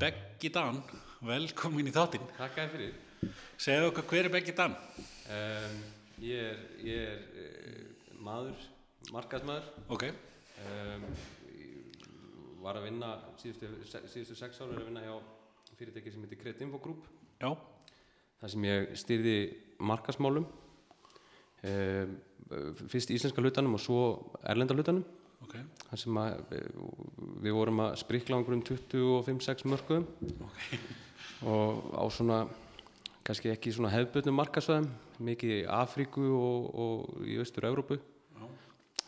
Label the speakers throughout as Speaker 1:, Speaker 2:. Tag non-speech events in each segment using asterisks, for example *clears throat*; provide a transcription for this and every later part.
Speaker 1: Beggi Dan, velkomin í þáttinn.
Speaker 2: Takk að fyrir.
Speaker 1: Segðu okkur hver er Beggi Dan?
Speaker 2: Um, ég er, ég er uh, maður, markaðsmaður.
Speaker 1: Ok,
Speaker 2: Um, ég var að vinna, síðustu, se- síðustu sex ára er að vinna hjá fyrirtæki sem heitir Credit Info Group.
Speaker 1: já,
Speaker 2: þar sem ég styrði markaðsmálum. Um, fyrst íslenska hlutanum og svo erlenda hlutanum.
Speaker 1: ok,
Speaker 2: þar sem að, eh, við vorum að um sprikla á einhverjum 25-6 mörgum
Speaker 1: ok,
Speaker 2: og á svona kannski ekki svona hefðbötnum markasvæðum mikið í Afríku og, og í Östur-Európu
Speaker 1: já,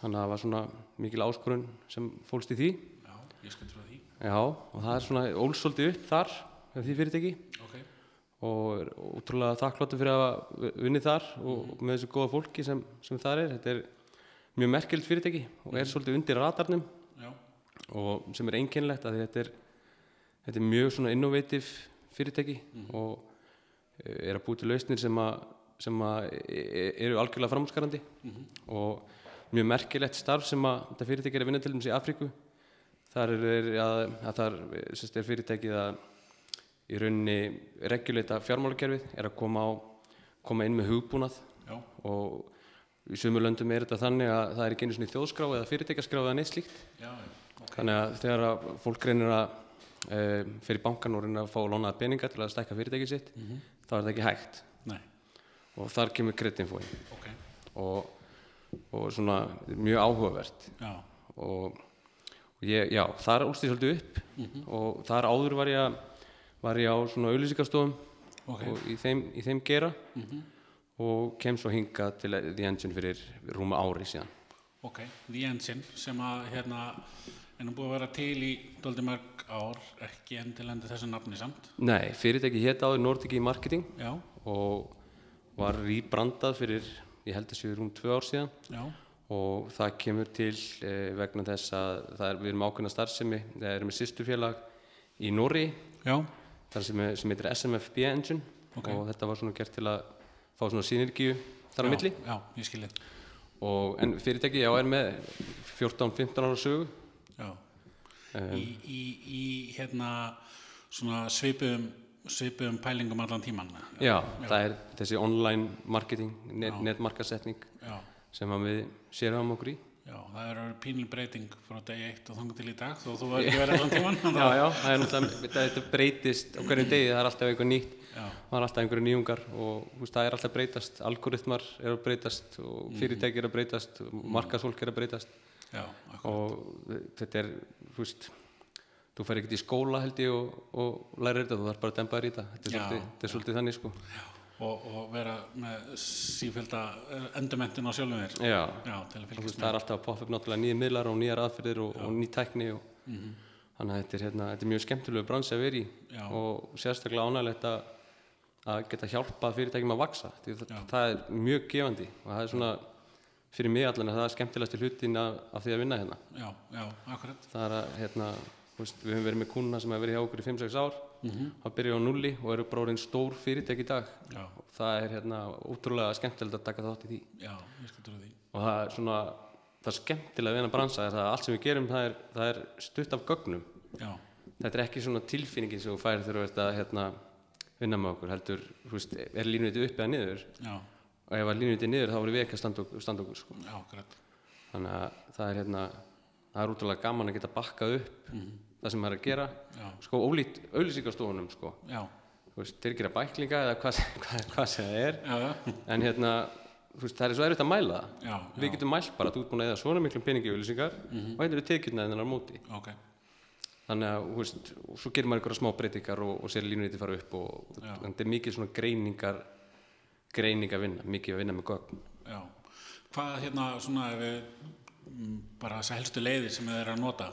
Speaker 2: þannig að það var svona mikil áskorun sem fólst í því
Speaker 1: já, ég skal trúa því.
Speaker 2: já, og það er svona ólsóldi upp þar með því fyrirtæki
Speaker 1: Ok,
Speaker 2: og er útrúlega þakkláttu fyrir að hafa unnið þar og með þessu góða fólki sem, sem þar er þetta er mjög merkjöld fyrirtæki og er svolítið undir radarnum
Speaker 1: já,
Speaker 2: og sem er einkennlegt að þetta er, þetta er mjög svona innovative fyrirtæki og eh, er að búi til lausnir sem, að, sem að e- e- eru algjörlega framúskarandi og mjög merkilegt starf sem að þetta fyrirtæki er að vinna til dæmis í Afríku þar er, er að, að þar eh, sem sagt, er fyrirtækið að í rauninni reguleita fjármálakerfið er að koma á koma inn með hugbúnað
Speaker 1: já,
Speaker 2: og í sömu löndum er þetta þannig að það er ekki einu svona þjóðskrá eða fyrirtækaskrá eða neitt slíkt
Speaker 1: já, já, ok,
Speaker 2: Þannig að þegar að fólk reynir að e, fyrir bankan og reynir að fá lónaða peninga til að stækka fyrirtæki sitt, þá er það ekki hægt
Speaker 1: nei,
Speaker 2: og þar kemur kreditinfóin
Speaker 1: ok,
Speaker 2: og, og svona mjög áhugavert
Speaker 1: já,
Speaker 2: og, og ég, já, þar úlst ég svolítið upp og þar áður var ég, að- var ég á svona auðlýsingastofum
Speaker 1: ok,
Speaker 2: og í þeim, í þeim gera og kem svo hingað til The Engine fyrir rúma ári síðan.
Speaker 1: ok, The Engine sem að hérna, en hún búið að vera til í doldi mörg ár, ekki endilandi þessu nafni samt.
Speaker 2: Nei, fyrirtæki hétt áður Nordic í marketing
Speaker 1: Já,
Speaker 2: og var rýbrandað fyrir, ég held að séu rúm tvö ár síðan
Speaker 1: já,
Speaker 2: og það kemur til eh, vegna þess að það er, við erum ákveðna starfsemi, það erum við sýstufélag í Norri,
Speaker 1: já,
Speaker 2: þar sem, er- sem heitir SMFB Engine
Speaker 1: Ok.
Speaker 2: og þetta var svona gert til að fá svona sýnirgíu þar á
Speaker 1: já,
Speaker 2: milli
Speaker 1: já, ég skilið,
Speaker 2: og, en fyrirtæki já er með 14-15 ára sögu
Speaker 1: já. í, í, í hérna svona svipum svipum pælingum allan tíman
Speaker 2: já, það er þessi online marketing, net, netmarkasetning
Speaker 1: já,
Speaker 2: sem að við sérum okkur í
Speaker 1: já, það er verið pínil breyting frá degi eitt og þangu til í dag þó þú verður ekki verið allan
Speaker 2: *laughs*
Speaker 1: tíman en
Speaker 2: Já, já, það er náttúrulega, þetta- þetta breytist á hverjum degi, það er alltaf einhver nýtt,
Speaker 1: Já.
Speaker 2: það er alltaf einhverju nýjungar og þú veist, það er alltaf að breytast, algoritmar eru að breytast og fyrirtæki eru að breytast, markasólk eru að breytast
Speaker 1: það- já, akkur-
Speaker 2: og þetta er, þú veist, þú fer ekkert í skóla held ég og, og lærir þetta, þú þarf bara að dempa þér í þetta, þetta er
Speaker 1: Já,
Speaker 2: svolítið, þetta er svolítið þannig sko.
Speaker 1: og, og vera með sífjölda endurmentin á sjálfum þér
Speaker 2: Já,
Speaker 1: já, til að
Speaker 2: þú
Speaker 1: fylgjast
Speaker 2: veist, það er alltaf að poppa upp náttúrulega nýjir miðlar og nýjar aðferðir og, og ný tækni og þannig að þetta er, hérna, þetta er mjög skemmtilegu bransi að vera í
Speaker 1: Mhm. Já.
Speaker 2: og sérstaklega ánægilegt að, að geta hjálpað fyrirtækjum að vaksa því það,
Speaker 1: Já.
Speaker 2: það er mjög gefandi og það er svona fyrir mig allan að það er skemmtilegasti hlutin af, af því að vinna hérna
Speaker 1: já, já, akkurat
Speaker 2: það er að hérna, þú veist, við höfum verið með kúnna sem hefur verið hjá okkur í 5-6 ár mm
Speaker 1: Mhm.
Speaker 2: -hmm. það byrja á nulli og eru bara orðin stór fyrirtæk í dag
Speaker 1: já,
Speaker 2: og það er hérna, útrúlega skemmtilegt að taka þátt í því
Speaker 1: já, ég skal trú því
Speaker 2: og það er svona það er skemmtilega við hennar bransa er það að allt sem við gerum það er, það er stutt af gögnum
Speaker 1: já,
Speaker 2: þetta er ekki svona tilfinningin sem þú færir þegar þú ert að hérna, vinna með okkur heldur, þú veist, er línuðið upp eða niður
Speaker 1: já,
Speaker 2: og ef að línuðið er niður þá voru við ekki að standa okkur, standa okkur sko.
Speaker 1: já, akkurat
Speaker 2: þannig að það er hérna það er útrúlega gaman að geta bakkað upp það sem maður er að gera
Speaker 1: já,
Speaker 2: sko ólít auðlýsingastofunum sko
Speaker 1: já,
Speaker 2: þú veist, þeir gera bæklinga eða hvað, hvað, hvað sem *laughs* það er
Speaker 1: já, já,
Speaker 2: en hérna, þú veist, það er svo erfitt að mæla það
Speaker 1: já, já Mhm.
Speaker 2: Við getum mælt bara að þú ert búin að eða svona miklum peningi í auðlýsingar og þetta eru tekjurna þennan á móti.
Speaker 1: ok,
Speaker 2: Þannig að, þú veist, og svo gerir maður einhverja smá breytingar og, og sér línuriti fara upp og
Speaker 1: Já.
Speaker 2: þannig að þetta er mikið svona greiningar, greiningar vinna, mikið að vinna með gögn.
Speaker 1: já hvað hérna svona ef við mm, bara þess helstu leiðir sem þið eru að nota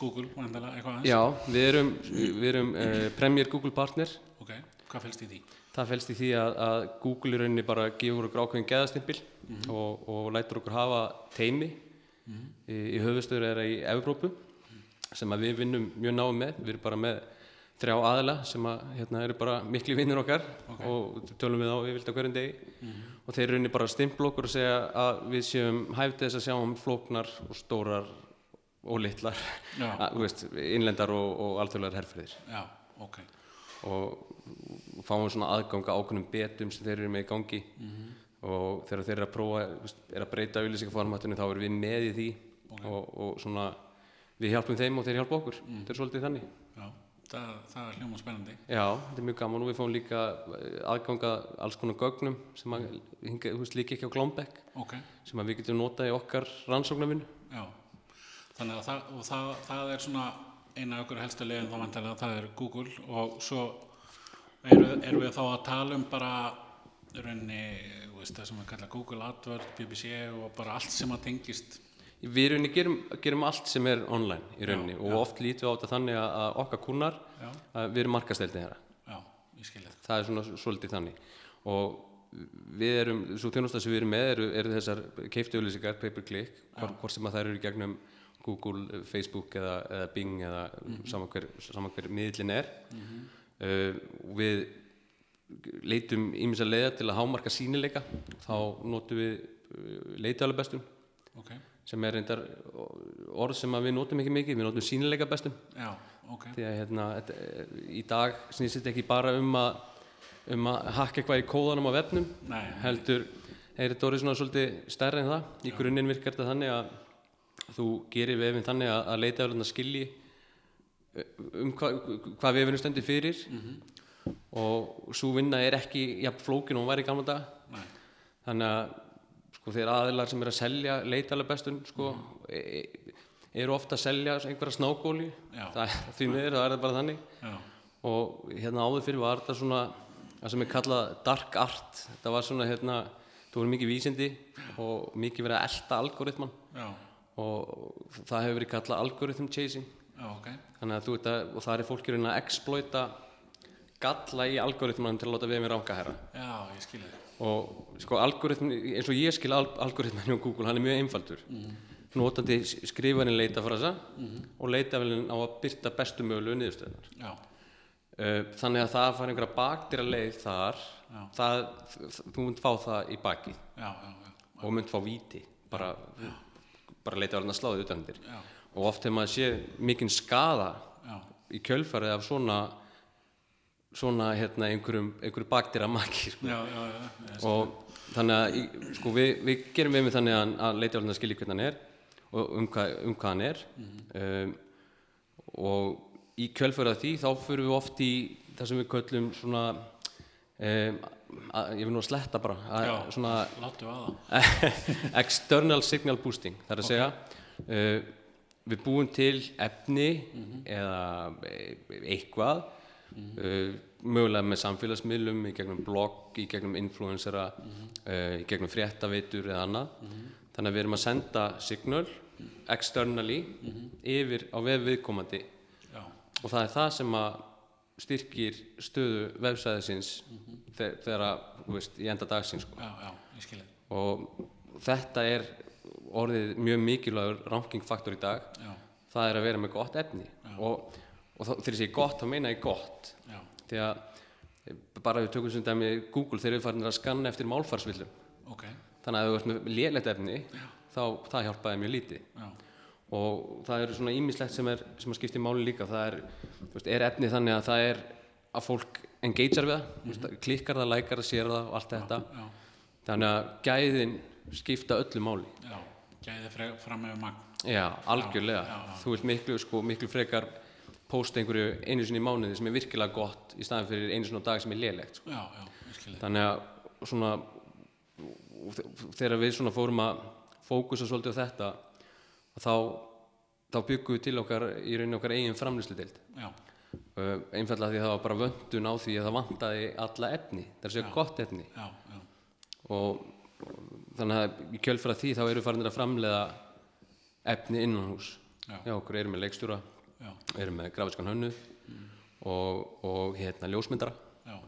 Speaker 1: Google, vandala, eitthvað aðeins
Speaker 2: Já, við erum, við erum uh, Premier Google Partner.
Speaker 1: Ok, hvað fylgst í því?
Speaker 2: Það felst í því að, að Google í rauninni bara gefur okkur ákveðin geðastimpil og, og lætur okkur hafa teimi í, í höfustöður eða í Evrópu sem að við vinnum mjög náum með. Við erum bara með þrjá aðila sem að hérna eru bara mikli vinnir okkar og tölum við á yfirlt á hverjum degi og þeir í rauninni bara stimpla okkur og segja að við séum hæfði þess að sjá um flóknar og stórar og litlar,
Speaker 1: Já.
Speaker 2: að, þú veist, innlendar og, og alþjóðlegar herfriðir.
Speaker 1: Já, ok,
Speaker 2: og og fáum svona aðganga ákveðnum betum sem þeir eru með í gangi og þegar þeir eru að prófa þú veist, eru að breyta auðlýsingaformatinu þá erum við með í því og, og svona við hjálpum þeim og þeir hjálpa okkur þetta er svolítið þannig
Speaker 1: já, það, það er hljóma spennandi.
Speaker 2: Já, þetta er mjög gaman og við fáum líka eh, aðgang að alls konar gögnum sem að hinga, þú veist, líka ekki á Glombeck
Speaker 1: Ok,
Speaker 2: sem að við getum notað í okkar rannsóknarvinu
Speaker 1: já, þannig að það, og það, það er svona eina okkur helstu leiðin þá vantarlega að það er Google og svo erum er við þá að tala um bara í rauninni, þú veist, það sem við kalla Google AdWords, BBC og bara allt sem að tengist.
Speaker 2: Við í rauninni gerum, gerum allt sem er online í rauninni og oft lítum við á þetta þannig að- að okkar kunnar
Speaker 1: Já.
Speaker 2: að við erum markasteldi þeirra
Speaker 1: Já, ég skil þetta.
Speaker 2: það er svona svolítið þannig og við erum, svo þjónustar sem við erum með eru, eru þessar keiftu auðlýsingar, pay-per-click hvort, hvort sem að það eru í gegnum Google, eh, Facebook eða, eða Bing eða mm saman hver, saman hver miðlin er mm við leitum ímins að leiða til að hámarka sínileika þá notum við uh, leitalega bestum
Speaker 1: Ok,
Speaker 2: sem er reyndar orð sem að við notum ekki mikið, við notum sínileika bestum
Speaker 1: já, ok,
Speaker 2: því að hérna, þetta, í dag snýst þetta ekki bara um að um að hakka eitthvað í kóðanum á vefnum
Speaker 1: Nei.
Speaker 2: heldur er þetta orðið svona svolítið stærri en það í grunninn virkar þetta þannig að þú gerir vefinn þannig að, að leita vel að skilji eh, um hva, hvað vefinu stendur fyrir og svo vinna er ekki jafn flókin og hún var í gamla daga
Speaker 1: næ,
Speaker 2: þannig að sko, þeir aðilar sem eru að selja leitalega bestun sko, e, e, eru ofta að selja einhverja snákóli
Speaker 1: Já.
Speaker 2: það, því miður það er það bara þannig
Speaker 1: já,
Speaker 2: og hérna áður fyrir var þetta svona það sem er kallað dark art þetta var svona hérna þú voru mikið vísindi og mikið verið að elta algoritman
Speaker 1: já,
Speaker 2: og það hefur verið kallað algorithm chasing
Speaker 1: já, ok,
Speaker 2: þannig að þú veit að og það er fólk í rauninni að exploita galla í algoritmanum til að láta við mér ranga herra
Speaker 1: já, ég skil þetta.
Speaker 2: og sko algoritm eins og ég skil al algoritman hjá Google hann er mjög einfaldur
Speaker 1: Mhm.
Speaker 2: notandi s- skrifarinn leita frasa og leitavælinn á að byrta bestu mögulegu niðurstöðnar
Speaker 1: Já,
Speaker 2: uh, þannig að það að fara einhverja baktir leið þar
Speaker 1: Já.
Speaker 2: það, þú mynd fá það í baki
Speaker 1: já, já, já,
Speaker 2: og mynd fá víti bara, bara leitavælinn að sláði utanir
Speaker 1: Já.
Speaker 2: og oft hefur maður sé mikinn skaða
Speaker 1: já,
Speaker 2: í kjölfarið af svona svona hérna einhverjum, einhverjum baktir að maki sko
Speaker 1: já, já, já, já,
Speaker 2: og þannig að í- sko, við, við gerum við með þannig að, að leita alveg að skilja hvernig hann er og um hvað, um hvað hann er um, og í kjölfæra því þá fyrir við oft í það sem við köllum svona um, að, ég vil nú að sletta bara að,
Speaker 1: Já.
Speaker 2: svona
Speaker 1: láttu að það.
Speaker 2: *laughs* external signal boosting þar að segja uh, við búum til efni eða e- eitthvað uh, mögulega með samfélagsmiðlum í gegnum blogg, í gegnum influencera uh, í gegnum fréttaveitur eða annað þannig að við erum að senda signal externally yfir á vef viðkomandi
Speaker 1: Já,
Speaker 2: og það er það sem að styrkir stöðu vefsæðisins þe- þegar að, þú veist, í enda dagsins sko
Speaker 1: já, já, ég skil þetta.
Speaker 2: og þetta er orðið mjög mikilvægur rankingfaktor í dag
Speaker 1: Já,
Speaker 2: það er að vera með gott efni og, og þá, þegar ég segi gott þá meina ég gott
Speaker 1: já,
Speaker 2: því að eh, bara við tökum sem dæmi Google þeir eru farin að skanna eftir málfarsvillum
Speaker 1: ok,
Speaker 2: þannig að ef þú ert með lélegt efni þá það hjálpaði mjög lítið
Speaker 1: já,
Speaker 2: og það eru svona ímislegt sem er sem að skipti máli líka það er, þú veist, er efni þannig að það er að fólk engagear við það mm -hmm. klikkar það, lækar það, sér það og allt þetta
Speaker 1: já,
Speaker 2: þannig að gæðin skipta öllu máli
Speaker 1: já, gæði fre- fram með magn.
Speaker 2: Já, algjörlega.
Speaker 1: Já,
Speaker 2: Þú vilt miklu, sko, miklu frekar posta einhverju einu sinni í mánuði sem er virkilega gott í staðan fyrir einu sinni á dag sem er lélegt. Sko.
Speaker 1: Já, já, ég skil þetta.
Speaker 2: Þannig að svona, og þe- þegar við svona fórum að fókusa svolítið á þetta, þá, þá byggum við til okkar í rauninni okkar eigin framlýslu deild.
Speaker 1: Já,
Speaker 2: Einfallega því að það var bara vöndun á því að það vantaði alla efni, það er að segja gott efni
Speaker 1: já, já,
Speaker 2: og þannig að í kjölfæra því þá erum við farinir að framleiða efni innan hús
Speaker 1: Já.
Speaker 2: já, okkur erum með leikstjóra
Speaker 1: já,
Speaker 2: erum með grafiskan hönnu og, og hérna ljósmyndara
Speaker 1: já,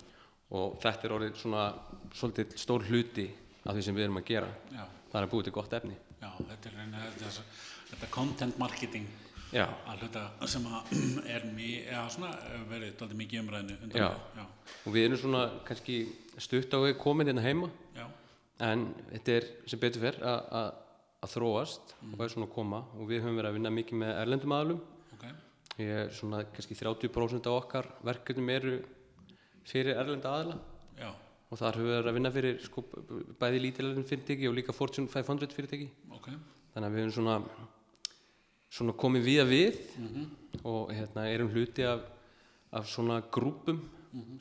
Speaker 2: og þetta er orðið svona svolítið stór hluti af því sem við erum að gera
Speaker 1: já,
Speaker 2: það er að búið til gott efni
Speaker 1: já, þetta er reyna, þetta, er s- þetta er content marketing
Speaker 2: já,
Speaker 1: að hluta sem að *clears throat* er mjög, eða svona, hefur verið daldið mikið í umræðinu. undanfarið.
Speaker 2: Já. og við erum svona kannski stutt á við komin hérna heima
Speaker 1: já, já,
Speaker 2: en þetta er sem betur fer að- að að þróast og það er svona að koma og við höfum verið að vinna mikið með erlendum aðlum
Speaker 1: ok,
Speaker 2: Ég er svona kannski 30% af okkar verkefnum eru fyrir erlenda aðila
Speaker 1: já,
Speaker 2: og þar höfum við verið að vinna fyrir sko, b- b- bæði lítilegum fyrirtæki og líka Fortune 500 fyrirtæki
Speaker 1: ok,
Speaker 2: þannig að við erum svona svona komið við að við og hérna erum hluti af, af svona grúpum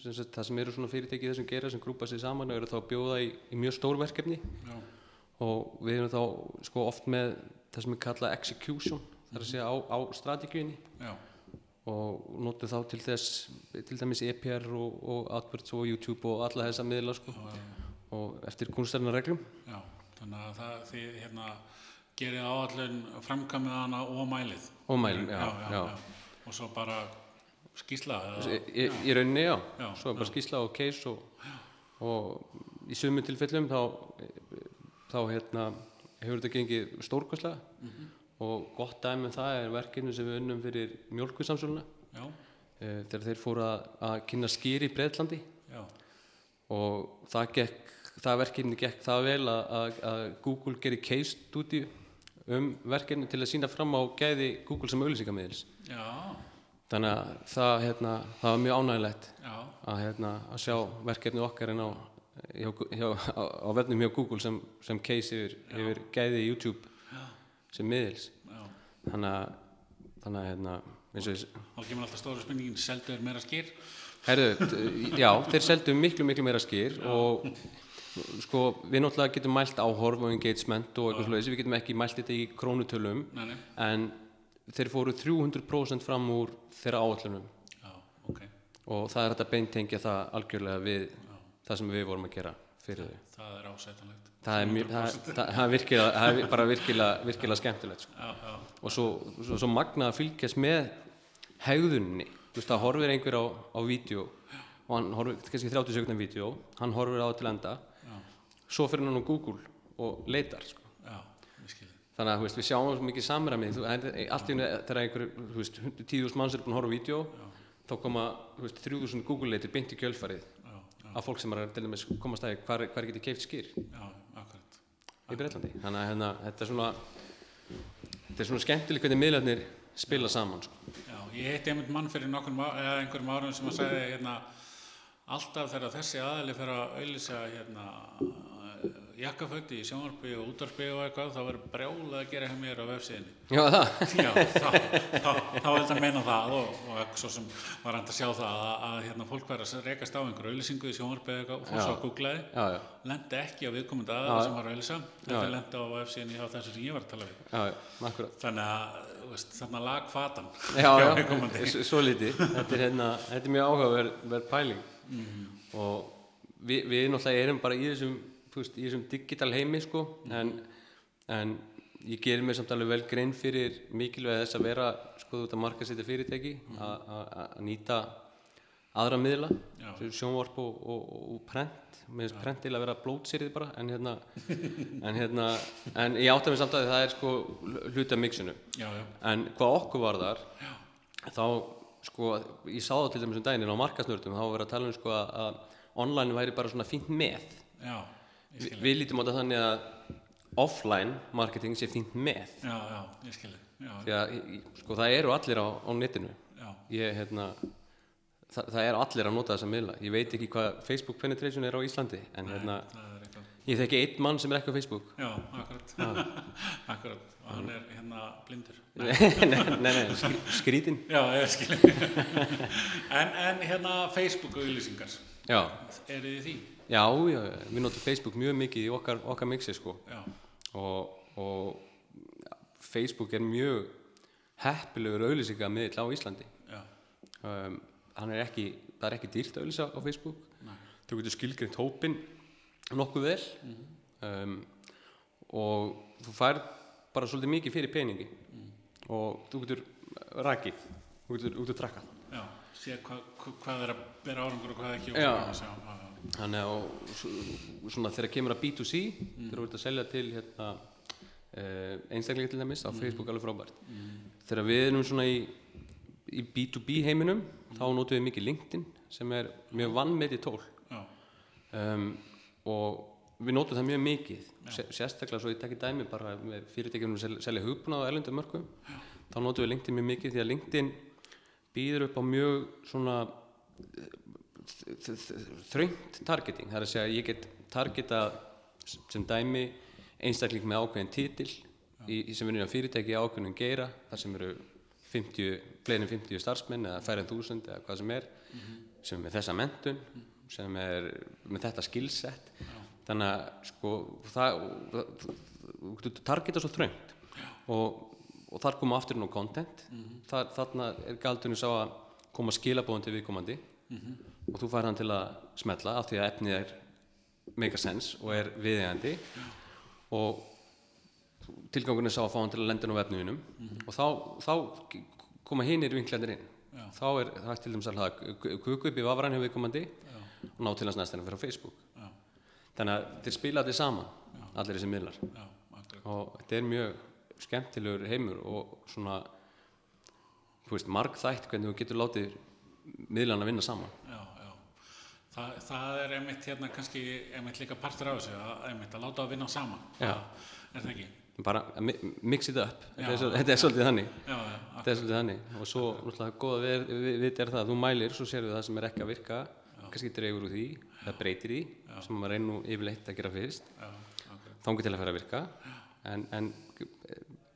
Speaker 2: sem sagt, það sem eru svona fyrirtæki í þessum gera sem grúpa sér saman og eru þá að bjóða í, í mjög stór verkefni
Speaker 1: já,
Speaker 2: og við erum þá sko oft með það sem er kallað execution þar að segja á, á strategíunni
Speaker 1: já,
Speaker 2: og notu þá til þess til dæmis EPR og, og AdWords og YouTube og alla þessa miðla sko og eftir kunstarnar reglum
Speaker 1: eh, já, þannig að það, þið hérna gerið áallun framkamið hana og mælið.
Speaker 2: og mælum, já,
Speaker 1: já,
Speaker 2: já.
Speaker 1: Og svo bara skýsla,
Speaker 2: Í,
Speaker 1: eða,
Speaker 2: í, í rauninni já,
Speaker 1: Já,
Speaker 2: svo er bara skýsla og case og, og í sumum tilfellum þá, þá hérna, hefur þetta gengið stórkvæslega og gott dæmi um það er verkinu sem við unnum fyrir mjölkusamsöluna
Speaker 1: já,
Speaker 2: eh, þegar þeir fóru að, að kynna skýri í Breitlandi
Speaker 1: já,
Speaker 2: og það, gekk, það verkefni gekk það vel að, að, að Google gerir case study um verkefni til að sína fram á gæði Google sem auðlýsingamiðils
Speaker 1: já,
Speaker 2: þannig að það, hérna, það var mjög ánægilegt
Speaker 1: já,
Speaker 2: að, hérna, að sjá verkefni okkar en á, hjá, hjá, á, á vefnum hjá Google sem, sem case yfir, yfir gæði YouTube sem miðils
Speaker 1: já.
Speaker 2: þannig að, þannig að hérna, eins og þess
Speaker 1: Þá kemur alltaf stóra spurningin, seldu er meira skýr?
Speaker 2: Herðu, d- já, þeir seldu miklu, miklu meira skýr og sko, við náttúrulega getum mælt áhorf og engagement og eitthvað slúið, við getum ekki mælt þetta í krónutölum,
Speaker 1: Nei, nei,
Speaker 2: en þeir fóru 300% fram úr þeirra áallunum
Speaker 1: já, ok.
Speaker 2: og það er hægt að beintengja það algjörlega við það sem við vorum að gera fyrir þau.
Speaker 1: Það er ásætanlegt.
Speaker 2: Það er, mjög, það, það, það er virkilega, það er bara virkilega, virkilega skemmtilegt, sko
Speaker 1: Já, já,
Speaker 2: og svo, svo, svo magna að fylgjast með hegðunni þú veist það horfir einhver á, á vídeo og hann horfir, þetta er kannski 30 sekundar vídeo hann horfir á það til enda
Speaker 1: já,
Speaker 2: svo fyrir hann á Google og leitar sko.
Speaker 1: já, ég skilði.
Speaker 2: þannig að þú veist, við sjáum svo mikið samræmi þú, en, allt í henni þegar einhver þú veist, 10.000 manns er búin að horfa á vídeo þá koma þú veist, 3.000 Google leitir beint í kjölfarið
Speaker 1: Já, já,
Speaker 2: af fólk sem er til dæmis komast að því hvar, hvar getið keift skýr
Speaker 1: já, akkurat.
Speaker 2: í Breitlandi þannig að hérna, þetta er svona þetta er svona skemmtileg hvernig miðlarnir spila saman sko.
Speaker 1: Já, ég heitti einmitt mann fyrir nokkrum, á- eða einhverjum árum sem að segja hérna alltaf þegar þessi aðali fyrir að auðlýsa hérna eh, jakkaföt í sjónvarpi og útvarpi og eitthvað þá verður brjólað að gera hjá mér á vefsíðinni.
Speaker 2: já það
Speaker 1: Já, *laughs* þá, þá, þá held að meina það og, og svo sem var hægt að sjá það að, að hérna fólk verður að rekast á einhverju auðlýsingu í sjónvarpi eða eitthvað og fór svo að googlaði.
Speaker 2: já, já,
Speaker 1: lendi ekki á viðkomandi aðeins sem var að auðvisa þetta
Speaker 2: Já.
Speaker 1: lendi á FCN hjá þessu sem ég var að tala við
Speaker 2: já, já, akkurat
Speaker 1: þannig að, þú veist, þannig að lag fatan
Speaker 2: já,
Speaker 1: hjá
Speaker 2: já,
Speaker 1: viðkomandi
Speaker 2: s- svo lítið þetta er, hérna, þetta er mjög áhugaverð pæling
Speaker 1: Mhm.
Speaker 2: og við, við náttúrulega erum bara í þessum, þú veist, í þessum digital heimi sko,
Speaker 1: Mhm.
Speaker 2: en, en ég gerir mér samt alveg vel grein fyrir mikilvæg þess að vera sko þú ert að marka setja fyrirtæki
Speaker 1: Mhm.
Speaker 2: að- að að nýta aðra miðla
Speaker 1: Já.
Speaker 2: sem sjónvarp og, og, og, og prent mér finnst prent til að vera blótsýrið bara en hérna, en hérna en ég átta mér samt að það er sko hluta mixinu
Speaker 1: já, já,
Speaker 2: En hvað okkur var þar, þá, sko, ég sá það til dæmis um daginn á markasnördum, þá var verið að tala um, sko, að- að online væri bara svona fínt með.
Speaker 1: já, ég
Speaker 2: Vi,
Speaker 1: skilji
Speaker 2: við lítum á þetta þannig að offline marketing sé fínt með.
Speaker 1: já, já, ég skilji já,
Speaker 2: Því að, sko, það eru allir á, á netinu.
Speaker 1: já,
Speaker 2: Ég, hérna, það, það eru allir að nota þessa miðla. Ég veit ekki hvað Facebook penetration er á Íslandi, en hérna,
Speaker 1: það er eitthvað
Speaker 2: ég þekki einn mann sem er ekki á Facebook.
Speaker 1: já, akkurat *laughs* akkurat, og hann er hérna blindur
Speaker 2: *laughs* nei, nei, nei, skrí, skrítin.
Speaker 1: já, ég skilji en, en hérna Facebook auðlýsingar
Speaker 2: Já.
Speaker 1: eru þið í því?
Speaker 2: Já, já, já, við notum Facebook mjög mikið í okkar, okkar mixi sko
Speaker 1: já,
Speaker 2: og, og Facebook er mjög heppilegur auðlýsinga miðill á Íslandi
Speaker 1: já,
Speaker 2: um, hann er ekki, það er ekki dýrt að auðlýsa á Facebook
Speaker 1: Nei.
Speaker 2: þú getur skilgreint hópin nokkuð vel um, og þú fær bara svolítið mikið fyrir peningi og þú getur rakið þú getur, þú getur trakkað
Speaker 1: já sé hvað, hvað er að bera árangur og hvað ekki og
Speaker 2: Já.
Speaker 1: hvað er að sjá, já, já
Speaker 2: Þannig að svo- svona þegar kemur að B2C, þegar þú ert að selja til hérna, uh, einstaklega til dæmis á Facebook alveg frábært. Þegar við erum svona í, í B2B heiminum, þá notum við mikið LinkedIn sem er mjög vannmetið tól
Speaker 1: Já,
Speaker 2: um, og við notum það mjög mikið. Se- Sérstaklega svo ég tekki dæmi bara með fyrirtækjum sem sel- selja hugbúnað á erlendum mörgum, þá notum við LinkedIn mjög mikið því að LinkedIn býður upp á mjög svona eh, þ- þ- þ- þröngt targeting, það er að segja að ég get targeta sem dæmi einstakling með ákveðin titil í, í sem vinnur að fyrirtæki í ákveðin geira þar sem eru 50, fleirin 50 starfsmenn eða færið 1000 eða hvað sem er sem er með þessa mentun sem er með þetta skilsett þannig að sko það, þú getur targeta svo þröngt og, og þar koma aftur inn á content
Speaker 1: Mhm.
Speaker 2: þar, þarna er galdurinn sá að koma skilabóðan til viðkomandi
Speaker 1: Mhm.
Speaker 2: og þú fær hann til að smetla af því að efnið er make a sense og er viðegandi og tilgangurinn er sá að fá hann til að lenda hann á vefnuðinum
Speaker 1: Mhm.
Speaker 2: og þá, þá k- koma hinir vinklandir inn þá er það er til dæmis að hlaða k- kuku upp í vafran hjá viðkomandi og ná til hans næst hennar fyrir á Facebook
Speaker 1: Já.
Speaker 2: þannig að þeir spila allir saman allir þessi miðlar
Speaker 1: já, akkurat.
Speaker 2: og þetta er mjög skemmtilegur heimur og svona þú veist, margþætt hvernig þú getur látið miðlana vinna saman
Speaker 1: já, já. Þa, það er einmitt hérna kannski einmitt líka partur af þessu að, einmitt að láta að vinna saman
Speaker 2: Já.
Speaker 1: Það er það ekki
Speaker 2: bara að mi- mix it up þetta
Speaker 1: Já.
Speaker 2: er, svo, þetta er svolítið þannig
Speaker 1: já, já, ak-
Speaker 2: þetta er svolítið þannig og svo náttúrulega góða við, við, við er það að þú mælir, svo sérðu það sem er ekki að virka kannski dreigur úr því, það breytir því sem maður reynir nú yfirleitt að gera fyrst
Speaker 1: já, akkurat.
Speaker 2: þangu til að fara að virka en, en eh,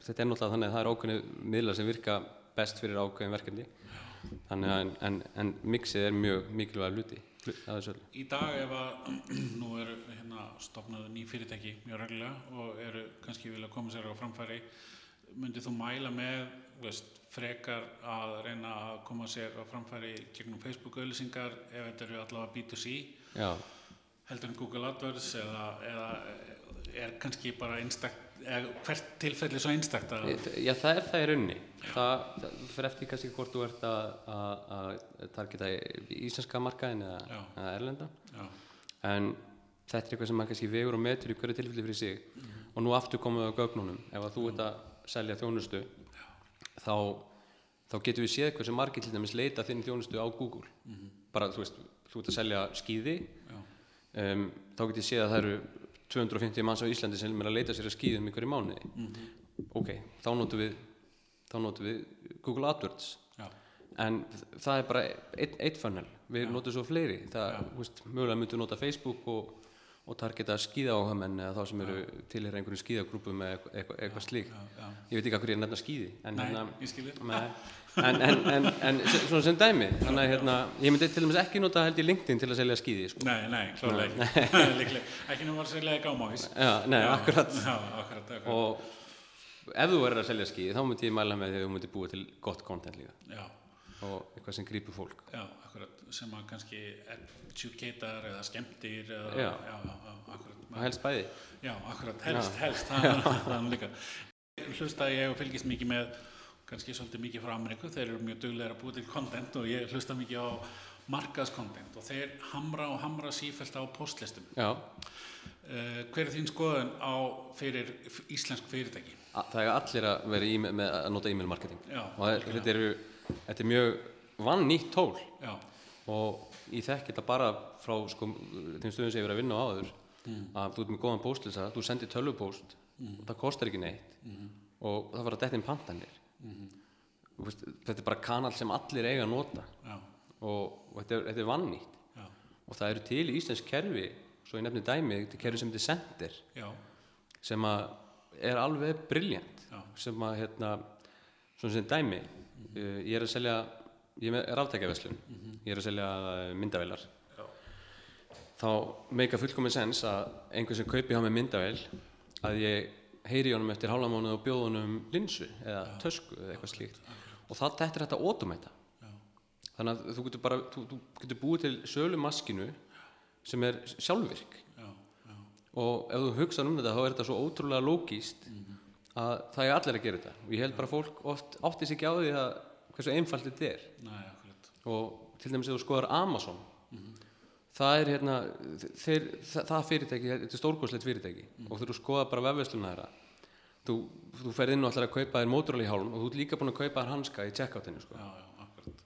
Speaker 2: þetta er náttúrulega þannig að það er ákveðinu miðlar sem virka best fyrir ákveðin verkefni þannig að en, en, en mixið er mjög mikilvæg luti það er svolítið
Speaker 1: Í dag ef að *clears throat* nú eru hérna stopnaðu ný fyrirtæki mjög reglulega og eru kannski vilja koma sér á framfæri myndið þú mæla með þú veist, frekar að reyna að koma sér á framfæri gegnum Facebook auðlýsingar ef þetta eru allavega B2C
Speaker 2: já,
Speaker 1: heldur en Google AdWords eða, eða er kannski bara einstakt eða hvert tilfelli svo einstakt að
Speaker 2: Eh, já, það er það í raunni það, það fyrir eftir kannski hvort þú ert að, að, að targeta í- íslenska markaðin eða,
Speaker 1: Já.
Speaker 2: eða erlenda
Speaker 1: já,
Speaker 2: en þetta er eitthvað sem maður kannski vegur og metur í hverju tilfelli fyrir sig og nú aftur komum við á gögnunum ef að þú ert að selja þjónustu þá, þá getum við séð hversu margir til dæmis leita þinn þjónustu á Google bara þú veist, þú ert að selja skíði
Speaker 1: já,
Speaker 2: um, þá getum við séð að það eru 250 manns á Íslandi sem er að leita sér að skíðum í hverju mánuði ok, þá notum við þá notum við Google AdWords
Speaker 1: já,
Speaker 2: en það er bara eitt, eitt funnel, við notum svo fleiri það, þú veist, mögulega myndum við nota Facebook og, og targeta skíðáhamenn eða þá sem eru tilhera einhverjum skíðagrúpum eða eitthvað, eitthvað, eitthvað slík
Speaker 1: já, já.
Speaker 2: ég veit ekki hvað hverju ég nefna skíði en,
Speaker 1: Nei,
Speaker 2: hérna-
Speaker 1: ég skil þig.
Speaker 2: Nei. en, en, en, en se- svona sem dæmi þannig að hérna, ég myndi til dæmis ekki nota held ég LinkedIn til að selja skíði sko.
Speaker 1: Nei, nei, klálega ekki *laughs* Líklega, ekki nema að segja gámávís
Speaker 2: Já, nei, akkurat.
Speaker 1: Já, akkurat, akkurat
Speaker 2: og ef þú verður að selja skíði þá myndi ég mæla með því að þú myndi búa til gott content líka
Speaker 1: Já,
Speaker 2: og eitthvað sem grípur fólk
Speaker 1: já, akkurat sem að kannski educatar eða skemmtir eða,
Speaker 2: Já.
Speaker 1: já, já, já, akkurat
Speaker 2: og helst bæði
Speaker 1: Já, akkurat, helst, helst, það er hann líka. Hlusta ég og fylgist mikið með, kannski svolítið mikið frá Ameríku, þeir eru mjög duglegir að búa til content og ég hlusta mikið á markaðskontent og þeir hamra og hamra sífælt á postlistum.
Speaker 2: Já,
Speaker 1: Uh, hver er þín skoðun á fyrir f- íslensk fyrirtæki?
Speaker 2: A- Það er allir að vera í, með að nota e-mail marketing
Speaker 1: Já,
Speaker 2: og það- þetta er, þetta er mjög vann nýtt tól
Speaker 1: Já,
Speaker 2: og ég þekki þetta bara frá sko, þeim stöðum sem ég verið að vinna á áður að þú ert með góðan póstlisa, þú sendir tölvupóst og það kostar ekki neitt og það var að detta inn pantanir mm. þetta er bara kanal sem allir eiga að nota
Speaker 1: já,
Speaker 2: og, og þetta er, þetta er vann nýtt
Speaker 1: já,
Speaker 2: og það eru til í íslensk kerfi svo ég nefni dæmi, þetta er kerfi sem þetta er sendir
Speaker 1: já,
Speaker 2: sem að er alveg briljant
Speaker 1: Já. Mhm.
Speaker 2: sem að hérna svona sem dæmi uh, ég er að selja ég er með ráftækjaverslun ég er að selja uh, myndavélar
Speaker 1: Já.
Speaker 2: þá meika fullkomin sens að einhver sem kaupi hjá með myndavél að ég heyri í honum eftir hálfamónu og bjóð honum linsu eða tösku eða eitthvað slíkt og það þetta er þetta að automata
Speaker 1: já,
Speaker 2: þannig að þú getur bara þú, þú getur búið til sölu maskinu sem er sjálfvirk
Speaker 1: já, já,
Speaker 2: og ef þú hugsa um þetta þá er þetta svo ótrúlega lógíst að það er allir að gera þetta og ég held bara að fólk oft átti sig ekki á því að hversu einfalt þetta er
Speaker 1: næ, akkurat,
Speaker 2: og til dæmis ef þú skoðar Amazon það er hérna þeir, það, það fyrirtæki, þetta er stórkoslegt fyrirtæki og þegar þú skoðar bara vefvesluna þeirra þú, þú ferð inn og ætlar að kaupa þér mótorali hálm og þú ert líka búin að kaupa þér hanska í checkoutinu sko.
Speaker 1: já, já, akkurat,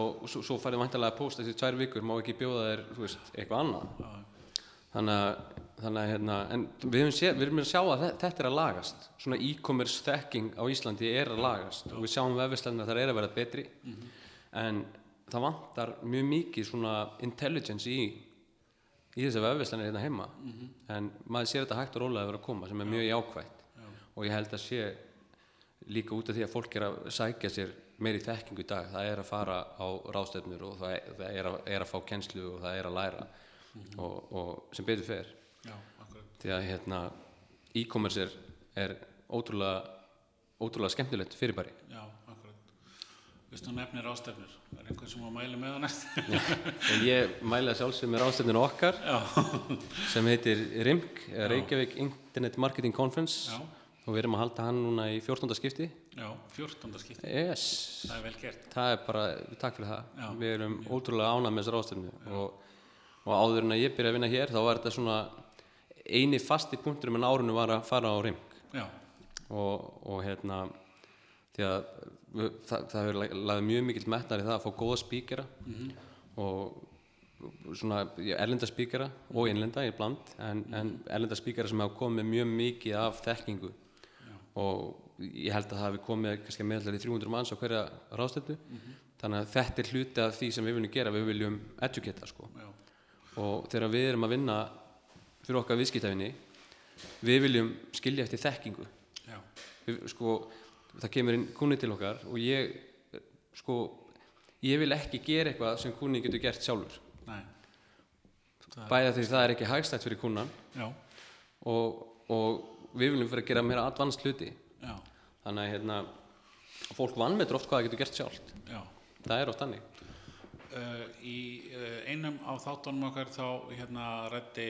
Speaker 2: og svo, svo færðu væntalega að posta þessi tvær vikur má ekki bjóða þér, þú veist, eitthvað annað
Speaker 1: já, já.
Speaker 2: þannig að, þannig að hérna, en við erum, sé, við erum að sjá að þe- þetta er að lagast svona e-commerce þekking á Íslandi er að lagast og við sjáum vefislega að það er að vera betri en það vantar mjög mikið svona intelligence í í þessar vefverslanir hérna heima en maður sér þetta hægt og rólega að vera að koma sem er mjög jákvætt og ég held að sé líka út af því að fólk er að sækja sér meiri þekkingu í dag það er að fara á ráðstefnur og það er, það er, að, er að fá kennslu og það er að læra og, og sem betur fer
Speaker 1: já, akkurat
Speaker 2: því að hérna e-commerce er, er ótrúlega ótrúlega skemmtilegt fyrirbæri
Speaker 1: já, akkurat Vistu nefnir ástefnir, er einhver sem að mæli með það næst?
Speaker 2: og ég mæla sjálfsögum með ráðstefninu okkar
Speaker 1: Já,
Speaker 2: sem heitir RIMK eða Reykjavík Internet Marketing Conference
Speaker 1: *laughs* Já.
Speaker 2: og við erum að halda hann núna í 14. skipti
Speaker 1: já, 14. skipti,
Speaker 2: yes,
Speaker 1: það er vel gert.
Speaker 2: það er bara takk fyrir það,
Speaker 1: Já.
Speaker 2: við erum ótrúlega ánað með þessar ráðstefnu og, og áður en að ég byrja að vinna hér þá var þetta svona eini fasti punktur um en árunum var að fara á RIMK
Speaker 1: Já,
Speaker 2: og, og hérna því að við- það, það hefur lag- lagði mjög mikill metnar í það að fá góða spíkera og svona já, erlenda spíkera og innlenda í bland en, en erlenda spíkera sem hafa komið með mjög mikið af þekkingu og ég held að það hafi komið kannski meðallar í 300 manns á hverja ráðstöndu þannig að þetta er hluti af því sem við viljum gera, við viljum educata sko
Speaker 1: já,
Speaker 2: og þegar við erum að vinna fyrir okkar viðskiptafinni við viljum skilja eftir þekkingu
Speaker 1: já,
Speaker 2: við, sko, það kemur inn kunni til okkar og ég sko, ég vil ekki gera eitthvað sem kunni getur gert sjálfur
Speaker 1: næ,
Speaker 2: bæða því það er ekki hagstætt fyrir kunnan
Speaker 1: já,
Speaker 2: og, og við viljum fyrir að gera meira advanced hluti
Speaker 1: já,
Speaker 2: þannig að hérna, fólk vannmetur oft hvað það getur gert sjálft
Speaker 1: já.
Speaker 2: það er oft þannig
Speaker 1: Uh, í uh, einum á þáttunum okkar þá hérna reddi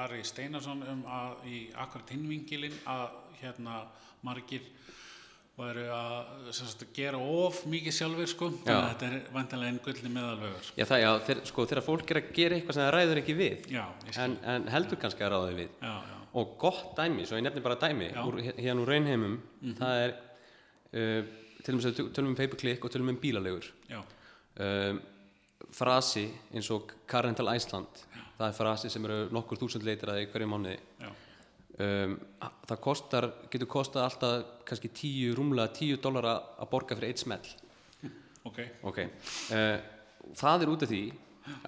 Speaker 1: Ari Steinarsson um að í akkurat hinvingilinn að hérna margir væru að sem sagt, gera of mikið sjálfur sko þannig að
Speaker 2: Já.
Speaker 1: þetta er vantilega einn gullni meðalvegur
Speaker 2: já, það, já, þeir, sko, þegar fólk er að gera eitthvað sem það ræður ekki við
Speaker 1: já, ég,
Speaker 2: en, en heldur kannski að ráða því við
Speaker 1: já, já,
Speaker 2: og gott dæmi, svo ég nefnir bara dæmi
Speaker 1: Já. Mhm.
Speaker 2: úr, hér- hérna úr raunheimum það er uh, til og með að tölum um paperclick og tölum um bílalegur
Speaker 1: já,
Speaker 2: um, frasi eins og Carental Iceland það er frasi sem eru nokkur þúsund leitir að í hverju mánuði
Speaker 1: já,
Speaker 2: um, a- það kostar, getur kostað alltaf kannski tíu, rúmlega tíu dólara að borga fyrir eitt smell
Speaker 1: ok
Speaker 2: ok uh, það er út af því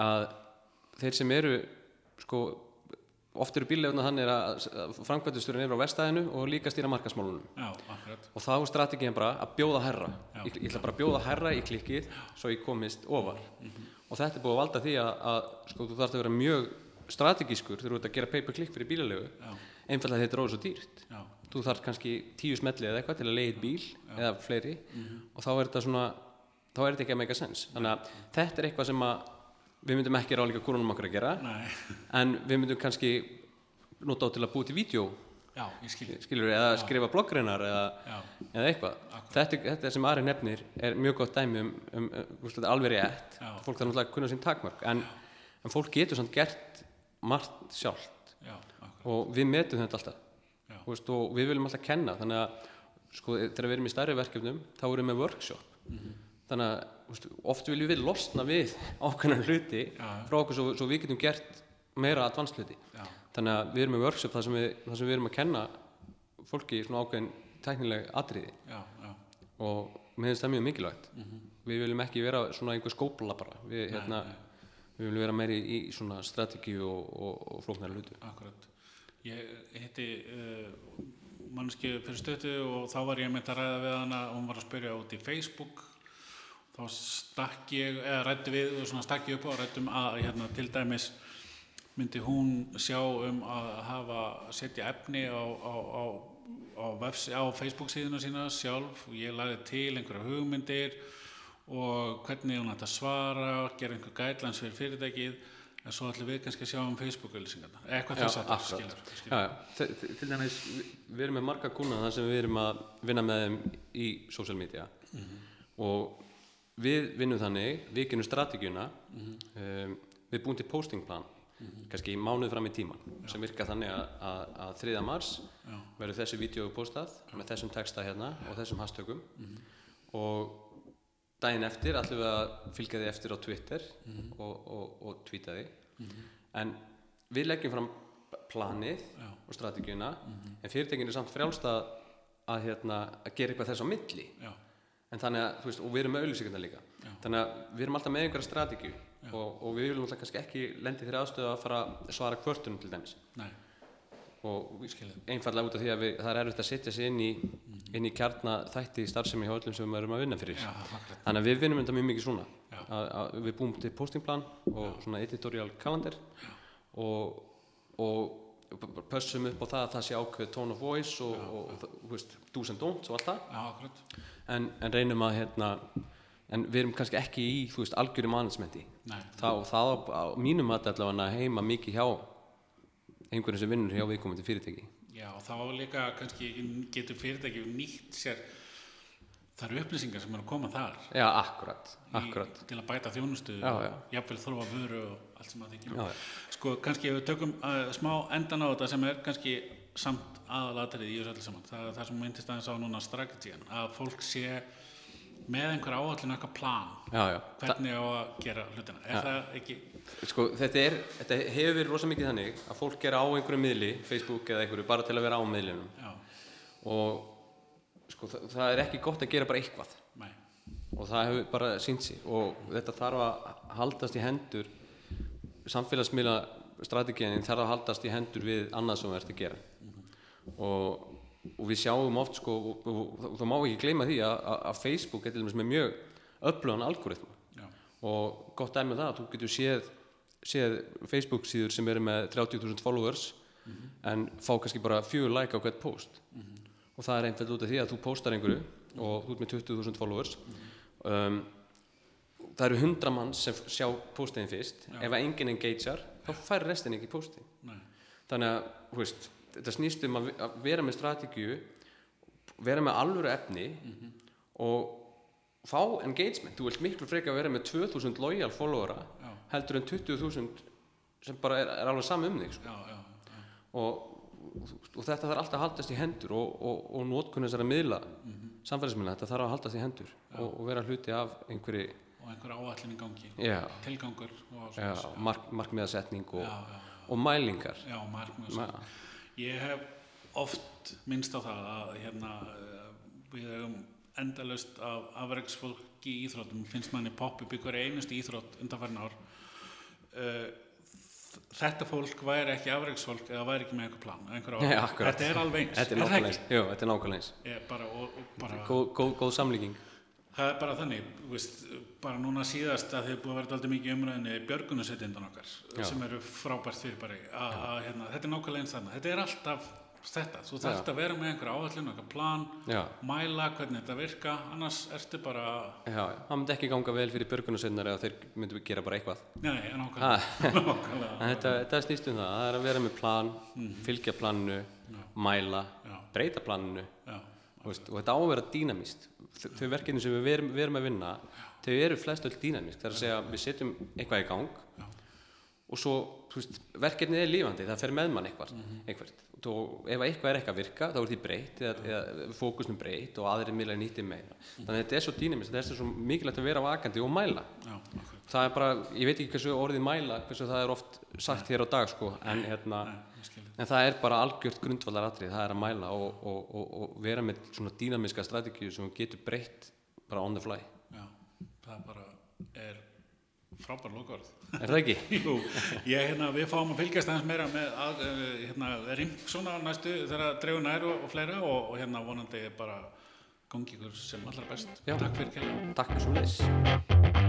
Speaker 2: að þeir sem eru sko oft eru bílefna þannig að að framkvæmdusturinn eru á verstaðinu og líka stýra markasmálunum
Speaker 1: já, akkurat
Speaker 2: og þá er strategiðan bara að bjóða herra
Speaker 1: Já.
Speaker 2: ég, ég ætla bara að bjóða herra í klikkið svo ég komist ofar
Speaker 1: Mhm.
Speaker 2: og þetta er búið að valda því að, að sko, þú þarfst að vera mjög strategískur þegar þú ert að gera pay-per-click fyrir bílalegu
Speaker 1: já,
Speaker 2: einfallega þetta er orðið svo dýrt
Speaker 1: já,
Speaker 2: þú þarfst kannski tíu smelli eða eitthvað til að leiða eitt bíl eða fleiri
Speaker 1: Mhm.
Speaker 2: og þá er þetta svona þá er þetta ekki að make a sense þannig að þetta er eitthvað sem að við myndum ekki ráleika kúrunum okkur að gera
Speaker 1: næ,
Speaker 2: en við myndum kannski nota á til að búið til vídeo
Speaker 1: já, ég skilji
Speaker 2: skilur eða skrifa bloggreinar eða
Speaker 1: já,
Speaker 2: eða eitthvað. Þetta, þetta sem Ari nefnir er mjög gott dæmi um, um, um úst, þetta er alveg rétt,
Speaker 1: Já.
Speaker 2: fólk þarf náttúrulega að kunna sín takmörk, en, en fólk getur samt gert margt sjálft
Speaker 1: já, akkurat
Speaker 2: og við metum þetta alltaf
Speaker 1: Já.
Speaker 2: Þú veist, og við viljum alltaf kenna þannig að sko, þegar við erum í stærri verkefnum þá erum við með workshop
Speaker 1: Mhm.
Speaker 2: þannig að þú veist, oft viljum við losna við *laughs* ákveðna hluti
Speaker 1: Já.
Speaker 2: frá okkur svo, svo við getum gert meira advanced hluti
Speaker 1: já,
Speaker 2: þannig að við erum með workshop þar sem við, þar sem við erum að kenna fólki svona ákveðin tæknileg atriði
Speaker 1: já, já,
Speaker 2: og mér finnst það mjög mikilvægt við viljum ekki vera svona einhver skópla bara við, hérna, við viljum vera meiri í svona strategíu og, og, og flóknari hlutu
Speaker 1: akkurat ég hitti uh, mannski fyrir stötu og þá var ég meint að ræða við hana og hún var að spyrja út í Facebook þá stakk ég eða rætti við og svona stakk ég upp og rættum að hérna til dæmis myndi hún sjá um að hafa setja efni á, á, á, á, vefs, á Facebook síðuna sína sjálf og ég lagði til einhverja hugmyndir og hvernig hún ætti að svara og gera einhver guidelines fyrir fyrirtækið en svo ætlum við kannski að sjá um Facebook-ölýsingarna eitthvað þess að það
Speaker 2: akkurat.
Speaker 1: skilur, skilur.
Speaker 2: já, já. Til, til dæmis við- við erum með marga kuna þar sem við erum að vinna með þeim í social media
Speaker 1: Mhm.
Speaker 2: og við vinnum þannig við genum strategíuna
Speaker 1: Mhm.
Speaker 2: um, við búum til postingplan kannski í mánuð fram í tíman sem virka þannig að, að, að 3. mars
Speaker 1: Já.
Speaker 2: verður þessu vídeo postað með þessum texta hérna og þessum hashtagum
Speaker 1: Mhm.
Speaker 2: og daginn eftir ætlum við að fylgja því eftir á Twitter
Speaker 1: Mhm.
Speaker 2: og, og, og tweeta því en við leggjum fram planið
Speaker 1: Já. Mhm.
Speaker 2: og strategíuna en fyrirtækinu er samt frjálst að, að, hérna, að gera eitthvað þess á milli
Speaker 1: Já,
Speaker 2: en en þannig að, þú veist, og við erum með auðlýsingarna líka þannig að við erum alltaf með einhverja strategíu og, og við viljum alltaf kannski ekki lendi þeirra aðstöðu að fara að svara kvörtunum til dæmis
Speaker 1: Nei,
Speaker 2: og
Speaker 1: Skil þig.
Speaker 2: einfallega út af því að við, það er erfitt að setja sig inn í, inn í kjarna þætti í starfsemi hjá öllum sem við erum að vinna fyrir
Speaker 1: Mhm. já, þakklað.
Speaker 2: Þannig að við vinnum þetta mjög mikið svona
Speaker 1: Já.
Speaker 2: að, að við búum til postingplan og svona editorial calendar og, og p- p- pössum upp á það að það sé ákveð tone of voice og, og, og þú veist, do's and don'ts og allt það
Speaker 1: Já, akkurat.
Speaker 2: en, en reynum að hérna en við erum kannski ekki í, þú veist, algjöru managementi
Speaker 1: Nei,
Speaker 2: þá, það á, á mínum að allavega heima mikið hjá einhverjum sem vinnur hjá viðkomandi fyrirtæki
Speaker 1: já, og þá líka kannski getur fyrirtæki nýtt sér þar eru upplýsingar sem eru að koma þar í-
Speaker 2: Já, akkurat, akkurat
Speaker 1: til að bæta þjónustu
Speaker 2: Já, já.
Speaker 1: og jafnvel þróa vöru og allt sem að því
Speaker 2: Já,
Speaker 1: kemur
Speaker 2: já.
Speaker 1: sko, kannski ef við tökum uh, smá endan á þetta sem er kannski samt aðalatrið í þessu öllu saman það, það sem myndist aðeins á núna strategían að fólk sé með einhver áallin eitthvað plan,
Speaker 2: Já, já,
Speaker 1: hvernig á að gera hlutina, er það ekki
Speaker 2: Sko, þetta, er, þetta hefur verið rosa mikið þannig að fólk er á einhverju miðli, Facebook eða einhverju, bara til að vera á miðlinum.
Speaker 1: já,
Speaker 2: Og sko, það, það er ekki gott að gera bara eitthvað.
Speaker 1: nei,
Speaker 2: Og það hefur bara sínt sig. Og þetta þarf að haldast í hendur, samfélagsmiðla strategíðin þarf að haldast í hendur við annað sem við ert að gera. og, og við sjáum oft, sko, og, og, og, og það má ekki gleyma því að, að- að Facebook er til dæmis með mjög öflugan algoritma
Speaker 1: já,
Speaker 2: og gott dæmi um það að þú getur séð, séð Facebook síður sem eru með 30.000 followers en fá kannski bara fjögur like á hvert post og það er einfælt út af því að þú postar einhverju og þú ert með 20.000 followers um, það eru 100 mann sem f- sjá postin fyrst ef að enginn engagear þá fær restin ekki postin
Speaker 1: nei
Speaker 2: þannig að þú veist, þetta snýst um að, að vera með strategíu vera með alvöru efni
Speaker 1: Mhm.
Speaker 2: og fá engagement þú vilt miklu frekar vera með 2000 loyal followera
Speaker 1: Já.
Speaker 2: heldur en 20.000 sem bara er, er alveg sami um þig sko.
Speaker 1: já, já, já,
Speaker 2: og, og þetta þarf alltaf að haldast í hendur og, og, og notkunn þessara miðla mm
Speaker 1: Mhm.
Speaker 2: þetta þarf að haldast í hendur og, og vera hluti af einhverju
Speaker 1: og einhver áallin í gangi
Speaker 2: já,
Speaker 1: tilgangur og
Speaker 2: já,
Speaker 1: svona
Speaker 2: mark, markmiðasetning og,
Speaker 1: já, já,
Speaker 2: og mælingar
Speaker 1: já, markmið og
Speaker 2: Ma,
Speaker 1: svona. ég hef oft minnst á það að hérna eh, við hefum endalaust af afregsfólki í íþróttum finnst manni popp upp í hverju einustu íþrótt undanfærin ár Eh, þetta fólk væri ekki afregsfólk eða væri ekki með einhver plan einhver
Speaker 2: Já,
Speaker 1: áætlun.
Speaker 2: akkurat.
Speaker 1: þetta er alveg eins
Speaker 2: Þetta er
Speaker 1: það
Speaker 2: nákvæmlega
Speaker 1: ekki? Ah.
Speaker 2: eins, jú, þetta er nákvæmlega eins.
Speaker 1: Eh, bara, og, og bara
Speaker 2: Góð, góð, góð samlíking.
Speaker 1: Það er bara þannig, þú veist, bara núna síðast að þið er búið að vera alltaf mikið í umræðinni björgunarsveitindan okkar
Speaker 2: Já.
Speaker 1: sem eru frábært fyrir bara að hérna, þetta er nákvæmlega eins þarna, þetta er alltaf þetta, þú þarft að vera með einhverja áallinu, einhverja plan,
Speaker 2: Já,
Speaker 1: mæla hvernig þetta virka, annars ertu bara,
Speaker 2: já, já. það myndi ekki ganga vel fyrir björgunarsveinar eða þeir myndu gera bara eitthvað.
Speaker 1: nei, nei, nákvæmlega,
Speaker 2: En
Speaker 1: *laughs* nákvæmlega,
Speaker 2: þetta, þetta snýst um það, það er að vera með plan, fylgja planinu, mæla,
Speaker 1: Mhm. Já.
Speaker 2: breyta planinu
Speaker 1: já,
Speaker 2: þú veist, og þetta á að vera dýnamist. Þau verkefni sem við verum, verum að vinna, þau eru flest öll dýnamist. Það er að segja að við setjum eitthvað í gang
Speaker 1: Já.
Speaker 2: og svo þú veist, verkefnið er lífandi, það fer með mann eitthvað. Mm
Speaker 1: Mhm.
Speaker 2: eitthvað. Og ef eitthvað er ekki að virka, þá er því breytt eða, eða fókusnum breytt og aðrir miðlega nýttir meira.
Speaker 1: Mhm.
Speaker 2: Þannig að þetta er svo dýnamist, þetta er svo mikilvægt að vera vakandi og mæla
Speaker 1: já, okkur,
Speaker 2: það er bara, ég veit ekki hversu orðið mæla hversu það er oft sagt hér á dag sko, en, hérna,
Speaker 1: nei, ég skilja,
Speaker 2: en það er bara algjört grundvallaratrið, það er að mæla og, og, og, og vera með svona dýnamiska strategíu sem getur breytt bara on the fly,
Speaker 1: já, það bara er frábær lókaorð.
Speaker 2: er það ekki?
Speaker 1: *laughs* Jú, ég, hérna, við fáum að fylgjast aðeins meira með að, eh, hérna, Rimksson á næstu þegar dreifu nær og, og fleira og, og hérna vonandi bara gangi ykkur sem allra best.
Speaker 2: Já.
Speaker 1: Takk fyrir kjærlega.
Speaker 2: Takk svo leys